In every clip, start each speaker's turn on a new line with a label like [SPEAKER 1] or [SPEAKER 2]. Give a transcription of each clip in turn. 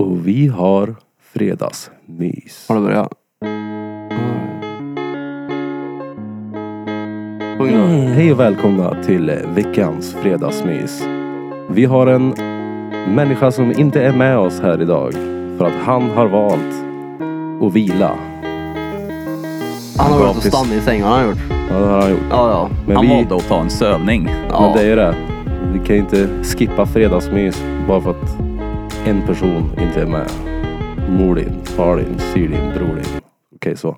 [SPEAKER 1] Och vi har fredagsmys.
[SPEAKER 2] Har du börjat? Sjung då.
[SPEAKER 1] Mm. Hej och välkomna till eh, veckans fredagsmys. Vi har en människa som inte är med oss här idag. För att han har valt att vila.
[SPEAKER 2] Han har varit och
[SPEAKER 1] Gapis.
[SPEAKER 2] stannat i sängen han har gjort.
[SPEAKER 1] Ja, det har han gjort.
[SPEAKER 2] Ja, ja.
[SPEAKER 1] Men
[SPEAKER 3] Han
[SPEAKER 1] vi,
[SPEAKER 3] valde att ta en sövning.
[SPEAKER 2] ja.
[SPEAKER 1] Men det är ju det. Vi kan ju inte skippa fredagsmys bara för att en person inte är med. Mor din, far din, syr din, bror din. Okej så.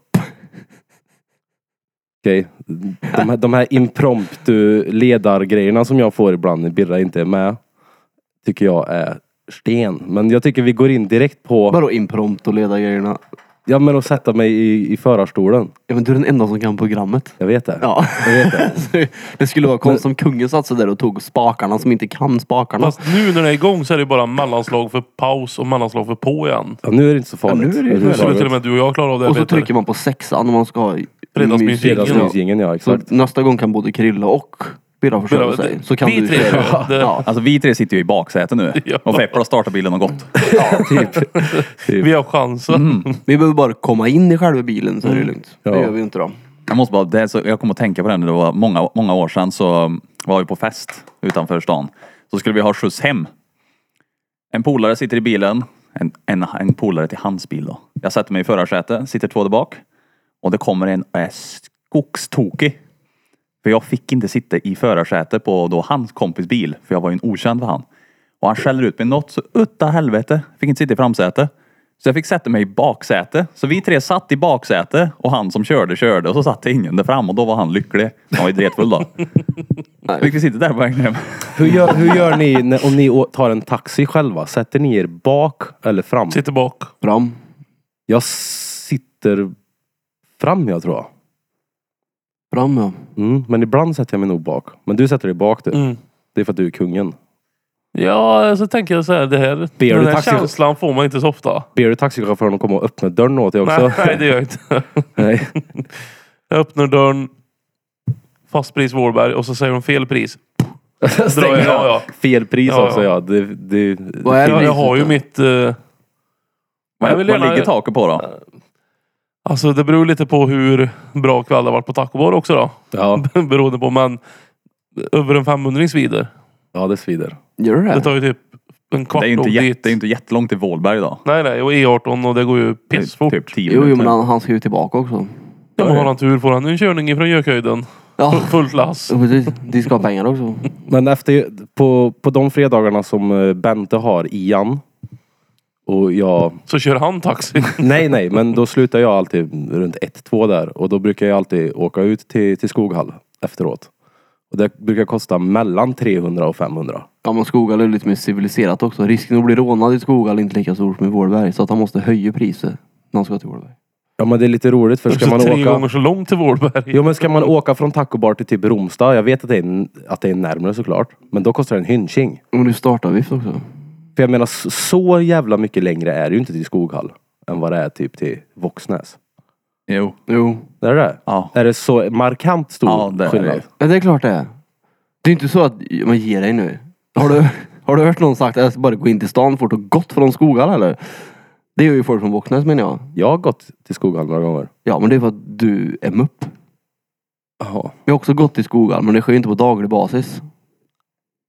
[SPEAKER 1] Okej. De, här- de här impromptu ledargrejerna som jag får ibland när Birra inte är med. Tycker jag är sten. Men jag tycker vi går in direkt på...
[SPEAKER 2] Vadå impromptu ledargrejerna?
[SPEAKER 1] Ja men att sätta mig i, i förarstolen.
[SPEAKER 2] Ja men du är den enda som kan programmet.
[SPEAKER 1] Jag vet det.
[SPEAKER 2] Ja.
[SPEAKER 1] Jag vet det.
[SPEAKER 2] det skulle vara konstigt om kungen satt sig där och tog spakarna som inte kan spakarna.
[SPEAKER 4] Fast nu när det är igång så är det bara mellanslag för paus och mellanslag för på igen.
[SPEAKER 1] Ja, nu är det inte så farligt.
[SPEAKER 2] Ja, nu är det ju
[SPEAKER 4] Det skulle
[SPEAKER 1] överhuvudtaget.
[SPEAKER 4] till och med du och jag klara av det.
[SPEAKER 2] och så
[SPEAKER 4] Peter.
[SPEAKER 2] trycker man på sexan om man ska ha
[SPEAKER 4] Fredagsmys.
[SPEAKER 2] mysigt.
[SPEAKER 1] Fredagsmysgängen ja,
[SPEAKER 2] Så
[SPEAKER 1] exakt.
[SPEAKER 2] nästa gång kan både Krille och Birra försörja
[SPEAKER 4] Birra,
[SPEAKER 2] sig.
[SPEAKER 4] det-
[SPEAKER 2] Så kan
[SPEAKER 4] vi
[SPEAKER 2] du
[SPEAKER 4] tre
[SPEAKER 2] köra.
[SPEAKER 4] gör det.
[SPEAKER 2] Ja.
[SPEAKER 3] Alltså vi tre sitter ju i baksätet nu.
[SPEAKER 4] Ja.
[SPEAKER 3] Och Feppe har startat bilen och gått.
[SPEAKER 1] Typ.
[SPEAKER 4] Vi har chansen.
[SPEAKER 2] Vi behöver bara komma in i själva bilen så
[SPEAKER 4] Mm.
[SPEAKER 2] är det lugnt.
[SPEAKER 1] Ja.
[SPEAKER 2] Det gör vi inte då.
[SPEAKER 3] Jag måste bara, det här, så jag kom att tänka på det här när det var många, många år sedan så var vi på fest utanför stan. Så skulle vi ha skjuts hem. En polare sitter i bilen. En, en, en polare till hans bil då. Jag sätter mig i förarsätet, sitter två där bak. Och det kommer en och är skogstokig. För jag fick inte sitta i förarsätet på då hans kompis bil. För jag var ju en okänd för han. Och han skäller ut mig något så utta helvete. Fick inte sitta i framsätet. Så jag fick sätta mig i baksätet. Så vi tre satt i baksätet och han som körde körde och så satt det ingen där fram och då var han lycklig. Han var ju dretfull då. Fick vi sitta där på vägen hem.
[SPEAKER 1] Hur gör, hur gör ni när, om ni å- tar en taxi själva? Sätter ni er bak eller fram?
[SPEAKER 4] Sitter bak.
[SPEAKER 2] Fram.
[SPEAKER 1] Jag sitter fram jag tror jag.
[SPEAKER 2] Fram ja.
[SPEAKER 1] Mm, men ibland sätter jag mig nog bak. Men du sätter dig bak du.
[SPEAKER 4] Mm.
[SPEAKER 1] Det är för att du är kungen.
[SPEAKER 4] Ja, så tänker jag så här. Det här
[SPEAKER 1] Ber
[SPEAKER 4] den
[SPEAKER 1] du
[SPEAKER 4] här
[SPEAKER 1] taxi-
[SPEAKER 4] känslan får man inte så ofta.
[SPEAKER 1] Ber du taxichauffören att komma och öppna dörren åt dig också?
[SPEAKER 4] Nej, nej, det gör jag inte.
[SPEAKER 1] Nej.
[SPEAKER 4] Jag öppnar dörren. Fastpris Vårberg och så säger de fel pris. Drar
[SPEAKER 1] Stänger
[SPEAKER 4] jag, ja,
[SPEAKER 1] av.
[SPEAKER 4] ja.
[SPEAKER 1] Fel pris
[SPEAKER 4] Ja, ja.
[SPEAKER 1] också ja. Det, det,
[SPEAKER 2] Vad är
[SPEAKER 4] Jag,
[SPEAKER 2] det?
[SPEAKER 4] jag har ju mitt... eh,
[SPEAKER 3] Vad,
[SPEAKER 4] jag vill
[SPEAKER 3] vad
[SPEAKER 4] gärna-
[SPEAKER 3] ligger taket på då?
[SPEAKER 4] Alltså det beror lite på hur bra kväll det har varit på Taco Bar också då.
[SPEAKER 1] Ja,
[SPEAKER 4] Beroende på men över en 500 svider.
[SPEAKER 1] ja, det svider.
[SPEAKER 2] Gör du
[SPEAKER 4] Det
[SPEAKER 2] det?
[SPEAKER 4] tar ju typ en kvart
[SPEAKER 3] Det är ju inte,
[SPEAKER 4] att gå
[SPEAKER 3] jätte,
[SPEAKER 4] dit.
[SPEAKER 3] det är ju inte jättelångt till Vålberg idag.
[SPEAKER 4] Nej, nej. Och E18 och det går ju
[SPEAKER 3] Det är
[SPEAKER 4] pissfort.
[SPEAKER 3] Typ 10
[SPEAKER 2] Jo, jo
[SPEAKER 3] minuter.
[SPEAKER 2] men han, han ska ju tillbaka också.
[SPEAKER 4] Ja, men har han tur får han en körning ifrån Gökhöjden.
[SPEAKER 2] Ja.
[SPEAKER 4] Fullt lass.
[SPEAKER 2] Ja, precis. De ska ha pengar också.
[SPEAKER 1] Men efter, på, på de fredagarna som eh, Bente har Ian och jag
[SPEAKER 4] Så kör han taxi.
[SPEAKER 1] Nej, nej, men då slutar jag alltid runt ett, två där. Och då brukar jag alltid åka ut till, till Skoghall efteråt. Och det brukar kosta mellan 300 och 500.
[SPEAKER 2] Ja men Skoghall är lite mer civiliserat också. Risken att bli rånad i Skoghall är inte lika stor som i Vålberg. Så att han måste höja priset när han ska till Vålberg.
[SPEAKER 1] Ja, men det är lite roligt för ska man
[SPEAKER 4] tre
[SPEAKER 1] åka...
[SPEAKER 4] gånger så långt till Vårberg.
[SPEAKER 1] Jo, men ska man åka från Taco Bar till typ Romsta, jag vet att det, är, n- att det är närmare såklart. Men då kostar det en hynching.
[SPEAKER 2] Men du startar vift också.
[SPEAKER 1] För jag menar, s- så jävla mycket längre är det ju inte till Skoghall. Än vad det är typ till Våxnäs.
[SPEAKER 3] Jo.
[SPEAKER 2] Jo.
[SPEAKER 1] Är det det?
[SPEAKER 3] Ja.
[SPEAKER 1] Är det så markant stor
[SPEAKER 3] Ja, det är
[SPEAKER 1] skillnad?
[SPEAKER 3] det.
[SPEAKER 2] Ja, det är klart det är. Det är inte så att, men ge dig nu. Har du, har du hört någon sagt att jag ska bara gå in till stan fort och gått från Skoghall eller? Det gör ju folk från Våxnäs menar jag.
[SPEAKER 1] Jag har gått till Skoghall några gånger.
[SPEAKER 2] Ja men det är för att du är mupp.
[SPEAKER 1] Jaha.
[SPEAKER 2] Jag har också gått till Skoghall men det sker ju inte på daglig basis.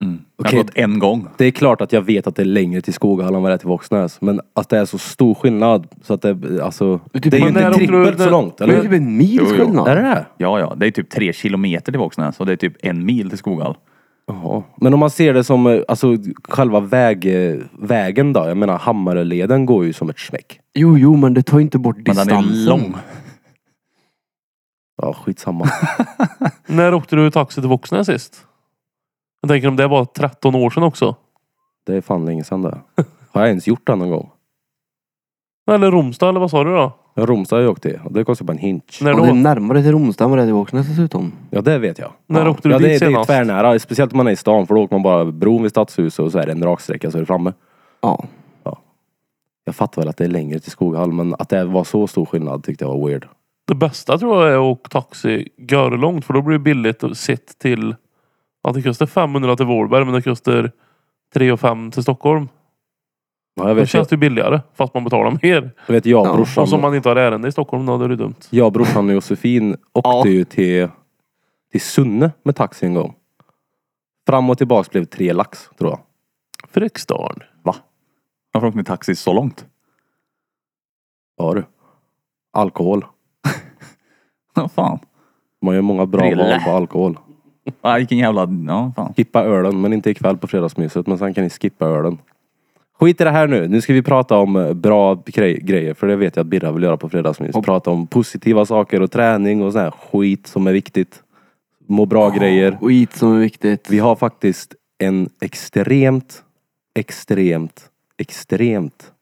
[SPEAKER 3] Mm. Jag har
[SPEAKER 1] Okej.
[SPEAKER 3] gått en gång.
[SPEAKER 1] Det är klart att jag vet att det är längre till Skoghall än vad det är till Våxnäs. Men att det är så stor skillnad så att det, alltså,
[SPEAKER 2] är typ-
[SPEAKER 1] det är ju
[SPEAKER 2] Men
[SPEAKER 1] inte
[SPEAKER 4] när åkte du-
[SPEAKER 1] trippelt så
[SPEAKER 4] när-
[SPEAKER 1] långt.
[SPEAKER 2] Men det är
[SPEAKER 1] Eller?
[SPEAKER 2] typ en
[SPEAKER 3] Jo,
[SPEAKER 2] mils
[SPEAKER 3] jo.
[SPEAKER 2] skillnad.
[SPEAKER 1] Är det det?
[SPEAKER 3] Ja, ja. Det är typ tre kilometer till Våxnäs och det är typ en mil till Skoghall.
[SPEAKER 1] Jaha. Men om man ser det som eh, alltså, själva väg, eh, vägen då. Jag menar Hammaröleden går ju som ett smäck.
[SPEAKER 2] Jo, jo men det tar ju inte bort
[SPEAKER 3] Men
[SPEAKER 2] distansen.
[SPEAKER 3] den är ju lång.
[SPEAKER 1] Ja skitsamma.
[SPEAKER 4] När åkte du taxi till Våxnäs sist? Jag tänker om det var 13 år sedan också.
[SPEAKER 1] det är fan länge sedan det. Har jag ens gjort det någon gång?
[SPEAKER 4] Eller Romstad eller vad sa du då?
[SPEAKER 1] Ja, Romstad har jag åkt till och det kostar bara en hinch.
[SPEAKER 4] När
[SPEAKER 2] Och det är
[SPEAKER 4] då?
[SPEAKER 2] närmare till Romsta än vad det är till Våxnäs dessutom.
[SPEAKER 1] Ja det vet jag.
[SPEAKER 4] När
[SPEAKER 1] ja.
[SPEAKER 4] åkte du
[SPEAKER 1] ja,
[SPEAKER 4] dit
[SPEAKER 1] det, är-
[SPEAKER 4] senast?
[SPEAKER 1] Det är tvärnära. Speciellt om man är i stan för då åker man bara över bron vid stadshuset och så är det en raksträcka så är det framme.
[SPEAKER 2] Ja.
[SPEAKER 1] Jag fattar väl att det är längre till Skoghall men att det var så stor skillnad tyckte jag var weird.
[SPEAKER 4] Det bästa tror jag är att åka taxi görlångt för då blir det billigt och sitt till... Ja, det kostar 500 till Vårberg men det kostar 3 och 5 till Stockholm.
[SPEAKER 1] Ja, jag
[SPEAKER 4] Då
[SPEAKER 1] vet, jag,
[SPEAKER 4] känns det ju billigare fast man betalar mer.
[SPEAKER 1] vet jag,
[SPEAKER 2] Ja,
[SPEAKER 4] Och som
[SPEAKER 1] brorsan,
[SPEAKER 4] man inte har ärende i Stockholm då, då är det dumt.
[SPEAKER 1] jag, brorsan och Josefin åkte
[SPEAKER 2] Ja.
[SPEAKER 1] ju till, till Sunne med taxi en gång. Fram och tillbaks blev tre lax tror jag.
[SPEAKER 4] Fryksdalen.
[SPEAKER 3] Va? Varför åkte ni taxi så långt?
[SPEAKER 1] Ja du. Alkohol.
[SPEAKER 3] Ja, fan.
[SPEAKER 1] Man gör många bra
[SPEAKER 3] Prille.
[SPEAKER 1] val på alkohol.
[SPEAKER 3] Ja, vilken jävla... Ja, fan.
[SPEAKER 1] Skippa ölen, men inte ikväll på fredagsmyset. Men sen kan ni skippa ölen. Skit i det här nu. Nu ska vi prata om eh, bra grej- grejer. För det vet jag att Birra vill göra på fredagsmys. Prata om positiva saker och träning och sån här skit som är viktigt. Må bra-grejer.
[SPEAKER 2] Skit som är viktigt.
[SPEAKER 1] Vi har faktiskt en extremt, extremt, extremt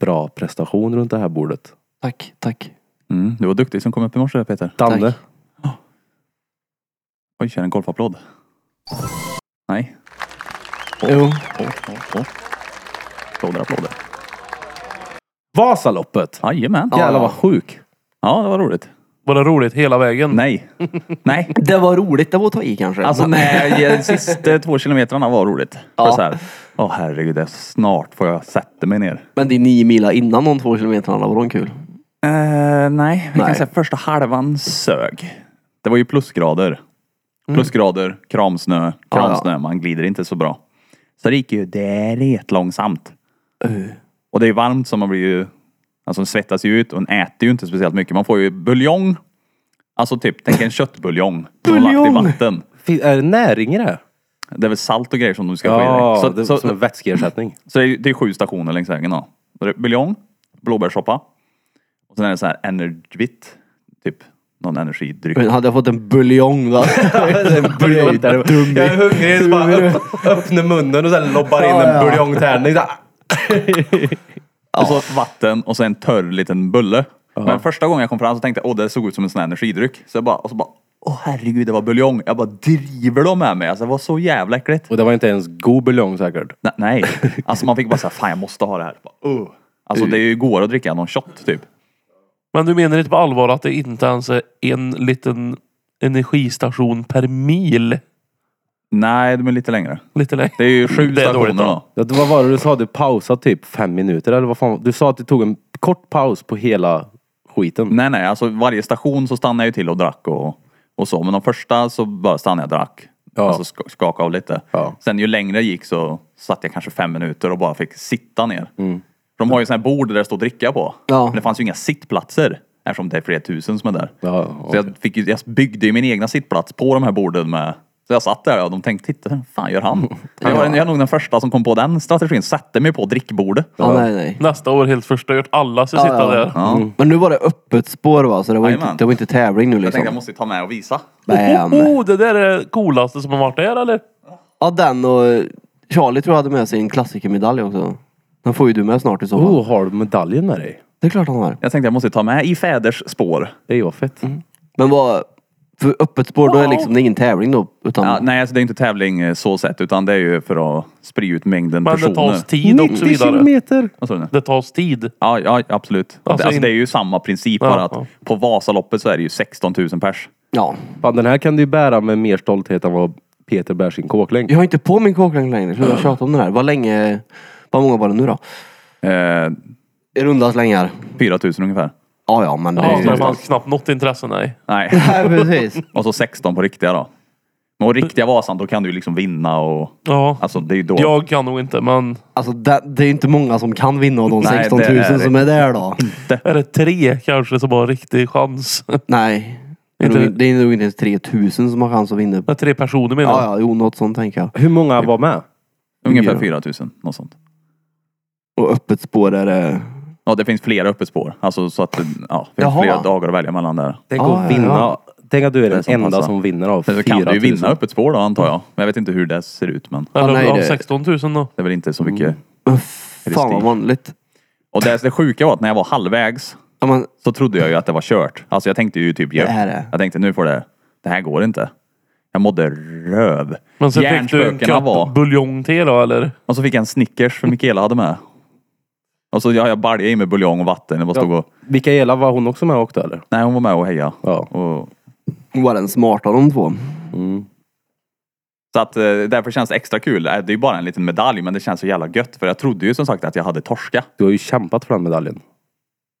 [SPEAKER 1] bra prestation runt det här bordet.
[SPEAKER 2] Tack, tack.
[SPEAKER 3] Mm, du var duktig som kom upp i morse Peter.
[SPEAKER 1] Danne.
[SPEAKER 2] Tack.
[SPEAKER 3] Oj, kör en golfapplåd. Nej.
[SPEAKER 2] Jo.
[SPEAKER 3] Åh, åh, åh. Applåder, applåder.
[SPEAKER 1] Vasaloppet!
[SPEAKER 3] Jajamän. Ja.
[SPEAKER 1] Jävlar vad sjuk.
[SPEAKER 3] ja, det var roligt.
[SPEAKER 4] Var det roligt hela vägen?
[SPEAKER 3] Nej. Nej.
[SPEAKER 2] Det var roligt, det var att ta i kanske.
[SPEAKER 3] Alltså
[SPEAKER 2] Men-
[SPEAKER 3] nej, de sista två kilometrarna var roligt.
[SPEAKER 2] Ja.
[SPEAKER 3] Ja. Så här, åh herregud, det är snart får jag sätta mig ner.
[SPEAKER 2] Men det är nio mila innan de två kilometrarna, var de kul?
[SPEAKER 3] Eh, nej, vi
[SPEAKER 2] Nej.
[SPEAKER 3] kan säga första halvan sög. Det var ju plusgrader. Plusgrader, kramsnö, kramsnö. Man glider inte så bra. Så det gick ju det långsamt. Och det är varmt så man blir ju... Alltså man svettas ju ut och man äter ju inte speciellt mycket. Man får ju buljong. Alltså typ, tänk en köttbuljong. som man lagt i
[SPEAKER 2] Buljong!
[SPEAKER 3] vatten.
[SPEAKER 1] Fin- Är det näring i det? här?
[SPEAKER 3] Det är väl salt och grejer som du ska få
[SPEAKER 1] Ja,
[SPEAKER 3] i
[SPEAKER 1] det
[SPEAKER 3] dig.
[SPEAKER 1] är
[SPEAKER 3] Så,
[SPEAKER 1] som
[SPEAKER 3] så,
[SPEAKER 1] en vätskeersättning.
[SPEAKER 3] så det är, det är sju stationer längs vägen då. Då är det Buljong, blåbärssoppa. Och sen är det så här energivitt. Typ någon energidryck.
[SPEAKER 2] Men hade jag fått en buljong då?
[SPEAKER 1] Brytare. Jag är hungrig, så bara öpp, öppnar munnen och sen lobbar in en buljongtärning. Så här.
[SPEAKER 3] Och så vatten och så en törr liten bulle. Men första gången jag kom fram så tänkte jag, åh det såg ut som en sån här energidryck. Så jag bara, och så bara, åh herregud det var buljong. Jag bara, driver de med mig? Alltså det var så jävla äckligt.
[SPEAKER 1] Och det var inte ens god buljong säkert.
[SPEAKER 3] Nej, nej. alltså man fick bara säga, fan jag måste ha det här. Bara, uh. Alltså det är ju går att dricka någon shot typ.
[SPEAKER 4] Men du menar inte på allvar att det inte ens är en liten energistation per mil?
[SPEAKER 3] Nej, de är lite längre.
[SPEAKER 4] Lite längre.
[SPEAKER 3] Det är ju sju
[SPEAKER 4] Det är
[SPEAKER 3] stationer
[SPEAKER 4] dåligt då.
[SPEAKER 3] då.
[SPEAKER 1] Ja, det- Vad var det du sa? Du pausade typ fem minuter eller vad fan? Du sa att du tog en kort paus på hela skiten.
[SPEAKER 3] Nej, nej, alltså varje station så stannade jag ju till och drack och, och så. Men de första så bara stannade jag och drack.
[SPEAKER 1] Ja.
[SPEAKER 3] Alltså sk- skakade av lite.
[SPEAKER 1] Ja.
[SPEAKER 3] Sen ju längre det gick så satt jag kanske fem minuter och bara fick sitta ner. De har ju sådana här bord där det står dricka på.
[SPEAKER 2] Ja.
[SPEAKER 3] Men det fanns ju inga sittplatser. Eftersom det är flera tusen som är där.
[SPEAKER 1] Ja,
[SPEAKER 3] Så jag, fick, ju- jag byggde ju min egna sittplats på de här borden med så jag satt där och de tänkte, titta, vad fan gör han? Jag var, jag är nog den första som kom på den strategin, satte mig på drickbordet.
[SPEAKER 2] Ja, nej, nej.
[SPEAKER 4] Nästa år helt förstört. Alla ska sitta
[SPEAKER 2] ja. Mm.
[SPEAKER 4] där.
[SPEAKER 3] Ja.
[SPEAKER 2] Men nu var det öppet spår va? Så det var, inte,
[SPEAKER 3] Jajamän.
[SPEAKER 2] det var inte tävling nu
[SPEAKER 3] Jag tänkte jag
[SPEAKER 2] liksom?
[SPEAKER 3] måste ju ta med och visa.
[SPEAKER 2] Bam.
[SPEAKER 4] Oh, det där är det coolaste som har varit där eller?
[SPEAKER 2] Ja, den och Charlie tror jag hade med sig en klassikermedalj också. Den får ju du med snart i så fall.
[SPEAKER 1] Oh, har du medaljen med dig?
[SPEAKER 2] Det är klart han har.
[SPEAKER 3] Jag tänkte jag måste ta med i fäders spår.
[SPEAKER 1] Det är ju vad fett.
[SPEAKER 2] Men vad... För öppet spår då är liksom, det är ingen tävling då? Utan...
[SPEAKER 3] Ja, nej, alltså det är inte tävling eh, så sett utan det är ju för att sprida ut mängden
[SPEAKER 4] Men det
[SPEAKER 3] personer.
[SPEAKER 4] tas tid och så vidare.
[SPEAKER 1] kilometer!
[SPEAKER 3] Vad sa du nu?
[SPEAKER 4] Det tas tid.
[SPEAKER 3] Ja, ja absolut. Alltså,
[SPEAKER 4] in-
[SPEAKER 3] det är ju samma princip
[SPEAKER 4] Ja,
[SPEAKER 3] bara att
[SPEAKER 4] ja.
[SPEAKER 3] på Vasaloppet så är det ju 16 000 pers.
[SPEAKER 2] Ja.
[SPEAKER 1] Fan, den här kan du ju bära med mer stolthet än vad Peter bär sin kåklänk.
[SPEAKER 2] Jag har inte på min kåklänk längre. Sluta tjata om den här. Vad länge... Vad många var det nu då?
[SPEAKER 3] Eh,
[SPEAKER 2] I runda slängar.
[SPEAKER 3] 4 000 ungefär.
[SPEAKER 2] Ja, ja, men det
[SPEAKER 4] Ja,
[SPEAKER 2] är
[SPEAKER 4] så
[SPEAKER 2] ju... liksom-
[SPEAKER 4] har man knappt något intresse nej.
[SPEAKER 3] Nej.
[SPEAKER 2] Nej, precis.
[SPEAKER 3] och så 16 på riktiga då. Men på riktiga Vasan då kan du ju liksom vinna och
[SPEAKER 4] Ja.
[SPEAKER 3] alltså det är ju då.
[SPEAKER 4] Jag kan nog inte men
[SPEAKER 2] Alltså, det, det är inte många som kan vinna av de
[SPEAKER 3] Nej,
[SPEAKER 2] 16 000
[SPEAKER 3] det är det.
[SPEAKER 2] som är där då.
[SPEAKER 4] är det tre kanske som har riktig chans?
[SPEAKER 2] Nej. Det är,
[SPEAKER 4] Inte-
[SPEAKER 2] nog, det är nog inte ens 3 000 som har chans att vinna.
[SPEAKER 4] Det är tre personer menar
[SPEAKER 2] Ja,
[SPEAKER 4] jag.
[SPEAKER 2] ja, jo, något sånt tänker jag.
[SPEAKER 1] Hur många var med?
[SPEAKER 3] Ungefär 4 000, något sånt.
[SPEAKER 2] Och öppet spår är det...
[SPEAKER 3] Ja, det finns flera öppet spår. Alltså så att det- ja, det finns
[SPEAKER 2] Jaha.
[SPEAKER 3] flera dagar att välja mellan där.
[SPEAKER 1] Tänk
[SPEAKER 2] Ja,
[SPEAKER 1] att
[SPEAKER 2] ja,
[SPEAKER 1] vinna.
[SPEAKER 2] ja.
[SPEAKER 1] Ah, Tänk att du är
[SPEAKER 3] Det är
[SPEAKER 1] den
[SPEAKER 3] som
[SPEAKER 1] enda
[SPEAKER 3] passar.
[SPEAKER 1] som vinner av 4
[SPEAKER 3] Sen
[SPEAKER 1] 000.
[SPEAKER 3] så kan du ju vinna öppet spår då antar jag. Men jag vet inte hur det ser ut men
[SPEAKER 4] Eller
[SPEAKER 2] Ja, nej,
[SPEAKER 4] ja,
[SPEAKER 2] det-
[SPEAKER 4] 16 000 då.
[SPEAKER 3] det är väl inte så mycket.
[SPEAKER 2] Men Fan vad
[SPEAKER 3] stil?
[SPEAKER 2] vanligt.
[SPEAKER 3] Och det, det sjuka var att när jag var halvvägs
[SPEAKER 2] Ja, men,
[SPEAKER 3] så trodde jag ju att det var kört. Alltså jag tänkte ju typ,
[SPEAKER 2] Det här är-
[SPEAKER 3] jag tänkte nu får det, det här går inte. Jag mådde röv.
[SPEAKER 4] Men sen fick du en
[SPEAKER 3] Hjärnspökena
[SPEAKER 4] kopp
[SPEAKER 3] var.
[SPEAKER 4] buljong till då eller?
[SPEAKER 3] Och så fick jag en Snickers som Mikaela hade med. Och så jag, jag baljade i mig buljong och vatten. Jag bara stod och,
[SPEAKER 1] Mikaela, var hon också med och åkte eller?
[SPEAKER 3] nej hon var med och hejade.
[SPEAKER 1] Ja.
[SPEAKER 3] Och
[SPEAKER 1] Mm.
[SPEAKER 2] hon var den smarta av de två.
[SPEAKER 3] Så att eh, därför känns det extra kul. Eh, Det är ju bara en liten medalj men det känns så jävla gött. För jag trodde ju som sagt att jag hade torska.
[SPEAKER 1] Du har ju kämpat för den medaljen.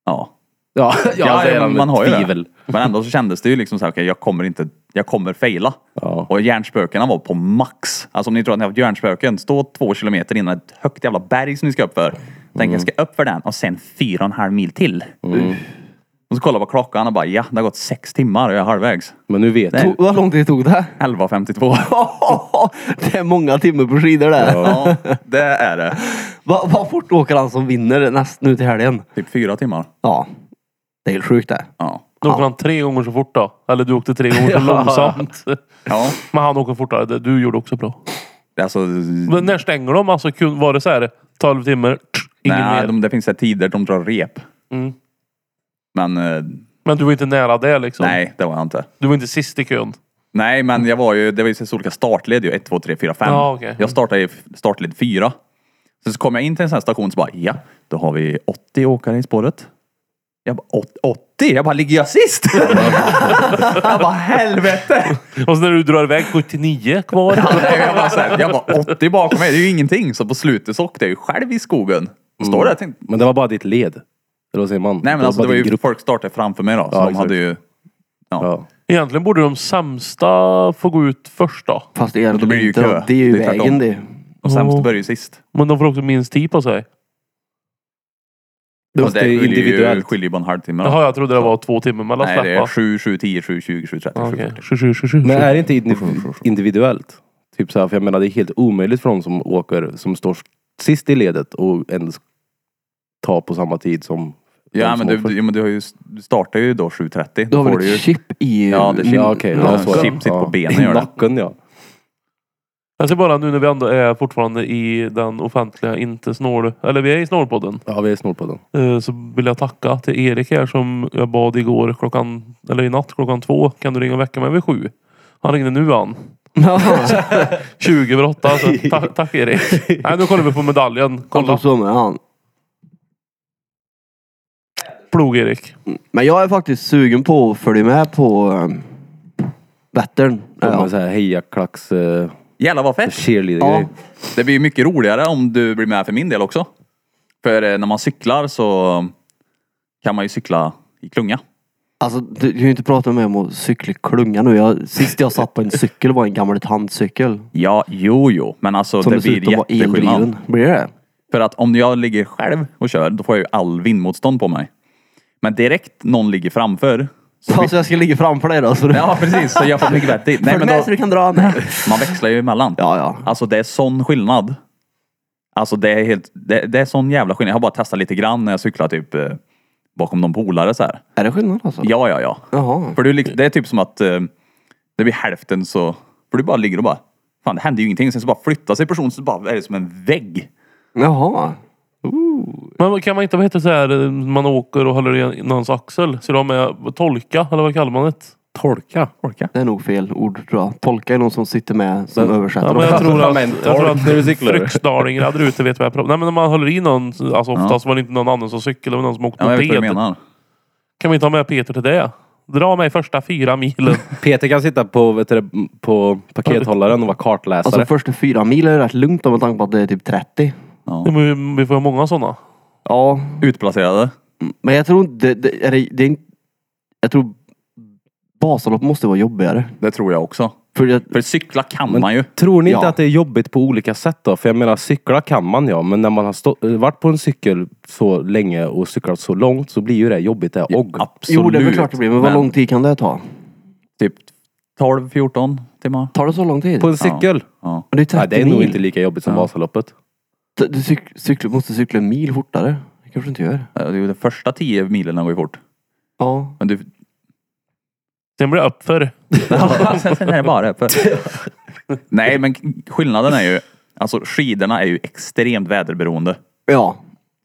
[SPEAKER 3] Ja.
[SPEAKER 1] Ja,
[SPEAKER 3] Ja,
[SPEAKER 1] säger
[SPEAKER 3] ja,
[SPEAKER 1] han med
[SPEAKER 3] man har ju
[SPEAKER 1] tvivel.
[SPEAKER 3] det. Men ändå så kändes det ju liksom så här, okej jag kommer inte, jag kommer fejla.
[SPEAKER 1] Ja.
[SPEAKER 3] Och hjärnspökena var på max. Alltså om ni tror att ni har haft hjärnspöken, stå två kilometer innan ett högt jävla berg som ni ska upp för. Tänk jag ska upp för den och sen fyra och en halv mil till.
[SPEAKER 4] Mm.
[SPEAKER 3] Och så kollar jag på klockan och bara, ja det har gått sex timmar och jag är halvvägs.
[SPEAKER 1] Men nu vet
[SPEAKER 3] Nej.
[SPEAKER 1] du.
[SPEAKER 2] Tog- Vad lång tid tog det?
[SPEAKER 3] 11.52.
[SPEAKER 2] det är många timmar på skidor där.
[SPEAKER 3] ja, det är det.
[SPEAKER 2] Vad vad fort åker han som vinner näst, nu till helgen?
[SPEAKER 3] Typ fyra timmar.
[SPEAKER 2] Ja. Det är helt sjukt det.
[SPEAKER 3] Ja.
[SPEAKER 4] Då åker han tre gånger så fort då. Eller du åkte tre gånger så långsamt.
[SPEAKER 3] Ja,
[SPEAKER 4] Men han åker fortare. Det- Du gjorde också bra.
[SPEAKER 3] alltså...
[SPEAKER 4] Men när stänger de? Alltså, kun- var det så här 12 timmar? tsch, Ingen
[SPEAKER 3] Nej,
[SPEAKER 4] mer.
[SPEAKER 3] de, det finns så här tider de drar rep.
[SPEAKER 4] Mm.
[SPEAKER 3] Men eh,
[SPEAKER 4] Men du var inte nära det liksom.
[SPEAKER 3] nej, det var jag inte.
[SPEAKER 4] Du var inte sist i kön.
[SPEAKER 3] Nej, men jag var ju, det var ju så olika startled ju. 1, 2, 3, 4, 5.
[SPEAKER 4] Ja, okej.
[SPEAKER 3] Jag startade i f- startled 4. Sen så kom jag in till en sån här station så bara, ja, då har vi 80 åkare i spåret. Jag bara, "Åt- 80? Jag bara, ligger jag sist? jag bara, helvete!
[SPEAKER 4] Och så när du drar iväg 79 kvar.
[SPEAKER 3] Nej, jag, bara, så här, jag bara, 80 bakom mig, det är ju ingenting. Så på slutet så åkte jag ju själv i skogen. Och Står där och tänkte,
[SPEAKER 1] Men det var bara ditt led. Eller vad säger man?
[SPEAKER 3] nej men alltså det
[SPEAKER 1] bara
[SPEAKER 3] var
[SPEAKER 1] din
[SPEAKER 3] ju,
[SPEAKER 1] grupp.
[SPEAKER 3] folk startade framför mig då. Så
[SPEAKER 1] Ja,
[SPEAKER 3] de
[SPEAKER 1] exakt.
[SPEAKER 3] hade ju, ja.
[SPEAKER 1] Ja.
[SPEAKER 4] Egentligen borde de sämsta få gå ut först då. Oh.
[SPEAKER 2] Fast det är
[SPEAKER 3] Då
[SPEAKER 2] det
[SPEAKER 3] blir det ju
[SPEAKER 2] inte.
[SPEAKER 3] kö.
[SPEAKER 2] då. Det är ju
[SPEAKER 3] Det är
[SPEAKER 2] vägen
[SPEAKER 3] tvärtom.
[SPEAKER 2] det.
[SPEAKER 3] Och sämst började ju sist.
[SPEAKER 4] Men de får också minst tid på sig.
[SPEAKER 1] Det
[SPEAKER 3] Och
[SPEAKER 1] måste
[SPEAKER 3] skiljer ju-
[SPEAKER 1] individuellt.
[SPEAKER 3] skiljer ju bara en halvtimme då.
[SPEAKER 4] Jaha, jag trodde det var två timmar mellan
[SPEAKER 3] Nej, det är
[SPEAKER 4] släppa.
[SPEAKER 3] 7, 7, 10, 7, 20, 7, 30,
[SPEAKER 4] Ja,
[SPEAKER 3] 7,
[SPEAKER 4] Okej,
[SPEAKER 3] 40.
[SPEAKER 4] 27, 27.
[SPEAKER 1] Men är det inte indiv- individuellt? Typ så här, för jag menar det är helt omöjligt för de som åker, som står sist i ledet och ens ta på samma tid som
[SPEAKER 3] Ja,
[SPEAKER 1] de
[SPEAKER 3] men
[SPEAKER 1] som
[SPEAKER 3] du,
[SPEAKER 1] åker.
[SPEAKER 3] du, ja, men du, har ju, du startar ju då 7.30.
[SPEAKER 2] Du har
[SPEAKER 3] får
[SPEAKER 2] väl
[SPEAKER 3] du ju,
[SPEAKER 2] ett chip i...
[SPEAKER 3] Ja, det är chip.
[SPEAKER 1] Ja okej,
[SPEAKER 3] Ja,
[SPEAKER 1] ja, så är det.
[SPEAKER 3] chip sitter på benen,
[SPEAKER 1] I
[SPEAKER 3] gör det.
[SPEAKER 1] nacken ja.
[SPEAKER 4] Jag ser bara nu när vi ändå är fortfarande i den offentliga, inte snål... Eller vi är i snålpodden.
[SPEAKER 1] Ja vi är snart på den.
[SPEAKER 4] eh, Så vill jag tacka till Erik här som jag bad igår klockan... Eller i natt klockan två. Kan du ringa och väcka mig vid sju? Han ringde nu han.
[SPEAKER 2] Ja,
[SPEAKER 4] 20 över åtta. Så ta, tack Erik. Nej, nu kollar vi på medaljen. Kolla.
[SPEAKER 2] kolla så med han.
[SPEAKER 4] Plog-Erik.
[SPEAKER 2] Men jag är faktiskt sugen på att följa med på um, Vättern.
[SPEAKER 1] Ja.
[SPEAKER 2] Ja.
[SPEAKER 1] så här hejaklacks uh,
[SPEAKER 3] Jävlar vad fett!
[SPEAKER 1] cheerleader
[SPEAKER 2] Ja.
[SPEAKER 1] grej.
[SPEAKER 3] Det blir ju mycket roligare om du blir med för min del också. För eh, när man cyklar så kan man ju cykla i klunga.
[SPEAKER 2] Alltså du du kan ju inte prata med mig om att cykla i klunga nu. Jag, sist jag satt på en cykel var en gammal tandcykel.
[SPEAKER 3] Ja, jo, jo. Men alltså
[SPEAKER 2] Som
[SPEAKER 3] det blir
[SPEAKER 2] dessutom var
[SPEAKER 3] jätteskillnad.
[SPEAKER 2] eldriven. Blir det?
[SPEAKER 3] För att om jag ligger själv och kör, då får jag ju all vindmotstånd på mig. Men direkt någon ligger framför. Så
[SPEAKER 2] Så alltså jag ska ligga framför dig då? Så du...
[SPEAKER 3] ja, precis. Så jag får mycket bättre. Nej,
[SPEAKER 2] Följ
[SPEAKER 3] men
[SPEAKER 2] med
[SPEAKER 3] då,
[SPEAKER 2] så du kan dra. Nej.
[SPEAKER 3] man växlar ju emellan.
[SPEAKER 2] Ja, ja.
[SPEAKER 3] Alltså det är sån skillnad. Alltså det är helt, det, det är sån jävla skillnad. Jag har bara testat lite grann när jag cyklar typ eh, bakom någon polare så här.
[SPEAKER 2] Är det skillnad alltså?
[SPEAKER 3] Ja, ja, ja.
[SPEAKER 2] Jaha.
[SPEAKER 3] För du, lik- det är typ som att eh, det blir hälften så, för du bara ligger och bara, fan det händer ju ingenting. Sen så bara flyttar sig personen så bara är det som en vägg.
[SPEAKER 2] Jaha.
[SPEAKER 4] Men kan man inte, vad heter det så här, eh, man åker och håller i någons axel? Så de är tolka, eller vad kallar man det?
[SPEAKER 1] Torka.
[SPEAKER 3] Orka.
[SPEAKER 2] Det är nog fel ord tror jag. Tolka är någon som sitter med som Alltså, översätter.
[SPEAKER 4] Ja, men jag
[SPEAKER 1] de-
[SPEAKER 4] tror
[SPEAKER 1] de
[SPEAKER 4] att,
[SPEAKER 1] är en
[SPEAKER 4] jag tror
[SPEAKER 1] tolk när du
[SPEAKER 4] att
[SPEAKER 1] cyklar.
[SPEAKER 4] fryksdalingar där ute vet vad jag pratar om. Nej men när man håller i någon, alltså oftast var det inte någon annan som cyklade, det var någon som åkte
[SPEAKER 3] Ja, jag vet vad du
[SPEAKER 4] moped.
[SPEAKER 3] menar.
[SPEAKER 4] Kan vi inte ha med Peter till det? Dra mig första fyra milen.
[SPEAKER 1] Peter kan sitta på, vet du, det, på pakethållaren och vara kartläsare.
[SPEAKER 2] Alltså första fyra mil är ju rätt lugnt då med tanke på att det är typ 30.
[SPEAKER 4] Ja, men vi- vi får ha många sådana.
[SPEAKER 2] Ja,
[SPEAKER 3] Utplacerade.
[SPEAKER 2] Men jag tror inte, det, är det, det är inte, jag tror basalopp måste vara jobbigare.
[SPEAKER 3] Det tror jag också.
[SPEAKER 2] För jag,
[SPEAKER 3] För cykla kan man ju.
[SPEAKER 1] Tror ni inte
[SPEAKER 2] Ja.
[SPEAKER 1] att det är jobbigt på olika sätt då? För jag menar cykla kan man ja, men när man har stå- eh, varit på en cykel så länge och cyklat så långt så blir ju det jobbigt det och.
[SPEAKER 3] Absolut.
[SPEAKER 2] jo det är väl klart det blir, men vad lång tid kan det ta?
[SPEAKER 3] Typ 12-14 timmar.
[SPEAKER 2] Tar det så lång tid?
[SPEAKER 1] På en cykel?
[SPEAKER 3] Ja.
[SPEAKER 2] det är 30
[SPEAKER 1] Nej, det är
[SPEAKER 2] mil.
[SPEAKER 1] nog inte lika jobbigt som Vasaloppet.
[SPEAKER 2] Du, du cyk, cykla, måste cykla en mil fortare. Det kanske du inte gör.
[SPEAKER 3] Eh, Det är ju de första 10 milen går ju fort.
[SPEAKER 2] Ja.
[SPEAKER 3] Men du,
[SPEAKER 4] Sen blir det uppför.
[SPEAKER 3] sen, sen är det bara öppet. Nej, men skillnaden är ju, alltså skidorna är ju extremt väderberoende.
[SPEAKER 2] Ja.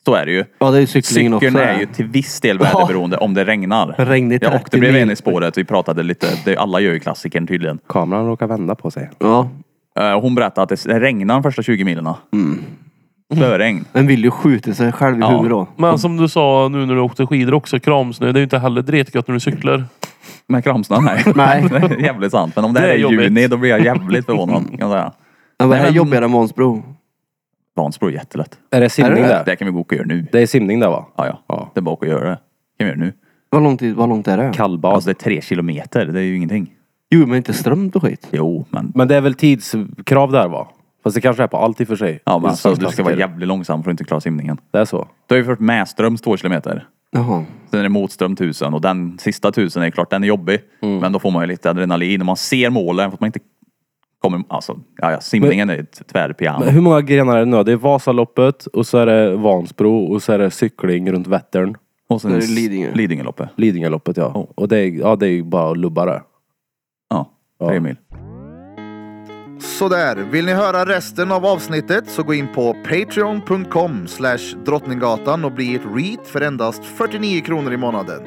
[SPEAKER 3] Så är det ju.
[SPEAKER 2] Ja det är ju cyklingen
[SPEAKER 3] Cykeln
[SPEAKER 2] också.
[SPEAKER 3] är ju till viss del väderberoende om det regnar.
[SPEAKER 2] Regn i 30
[SPEAKER 3] Jag åkte bredvid
[SPEAKER 2] mil.
[SPEAKER 3] en i spåret, vi pratade lite, det, alla gör ju klassikern tydligen.
[SPEAKER 1] Kameran råkar vända på sig.
[SPEAKER 2] Ja.
[SPEAKER 3] Eh, Hon berättade att det s- regnar de första 20 milen. Spöregn.
[SPEAKER 2] Den vill ju skjuta sig själv i
[SPEAKER 3] Ja.
[SPEAKER 2] huvudet då.
[SPEAKER 4] Men som du sa nu när du åkte skidor också, kramsnö. Det är ju inte heller dretgött när du cyklar.
[SPEAKER 3] Med Kramsnön? Nej.
[SPEAKER 2] Nej.
[SPEAKER 3] det är jävligt sant. Men om det,
[SPEAKER 4] Det
[SPEAKER 3] här
[SPEAKER 4] är
[SPEAKER 3] är
[SPEAKER 4] jobbigt.
[SPEAKER 3] juni då blir jag jävligt förvånad. Kan jag säga.
[SPEAKER 2] Men vad är
[SPEAKER 3] Nej, men-
[SPEAKER 2] jobbigare än Månsbro?
[SPEAKER 3] Vansbro är jättelätt.
[SPEAKER 1] Är det simning
[SPEAKER 2] Är det
[SPEAKER 1] där?
[SPEAKER 3] Det kan vi gå och göra nu.
[SPEAKER 1] Det är simning där va?
[SPEAKER 3] Ja, ja.
[SPEAKER 1] Ja.
[SPEAKER 3] Det är bara att gå och göra det. kan vi göra nu.
[SPEAKER 2] Vad långt, vad långt är det?
[SPEAKER 1] Kallbad.
[SPEAKER 3] Alltså det är tre kilometer. Det är ju ingenting.
[SPEAKER 2] Jo, men inte strömt och skit.
[SPEAKER 3] Jo, men...
[SPEAKER 1] Men det är väl tidskrav där va? Fast det kanske är på allt i och för sig.
[SPEAKER 3] Ja, men
[SPEAKER 1] I
[SPEAKER 3] alltså, du ska
[SPEAKER 1] stadsklasser.
[SPEAKER 3] vara jävligt långsam för att inte klara simningen.
[SPEAKER 1] Det är så.
[SPEAKER 3] Du har ju fört medströms två kilometer.
[SPEAKER 2] Jaha.
[SPEAKER 3] Sen är det motström tusen och den sista tusen är ju klart, den är jobbig. Men då får man ju lite adrenalin och man ser målen för att man inte kommer... Alltså, ja, ja, simningen är ett tvärpiano.
[SPEAKER 1] Men hur många grenar är det nu? Det är Vasaloppet och så är det Vansbro och så är det cykling runt Vättern.
[SPEAKER 3] Och sen
[SPEAKER 2] Där är det Lidingö.
[SPEAKER 3] Lidingöloppet.
[SPEAKER 1] Lidingöloppet ja.
[SPEAKER 3] Oh.
[SPEAKER 1] Och det är, ja, det är ju bara att lubba det.
[SPEAKER 3] Ja, tre mil.
[SPEAKER 5] Sådär, vill ni höra resten av avsnittet så gå in på patreon.com slash drottninggatan och bli ett reat för endast 49 kronor i månaden.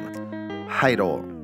[SPEAKER 5] Hej då!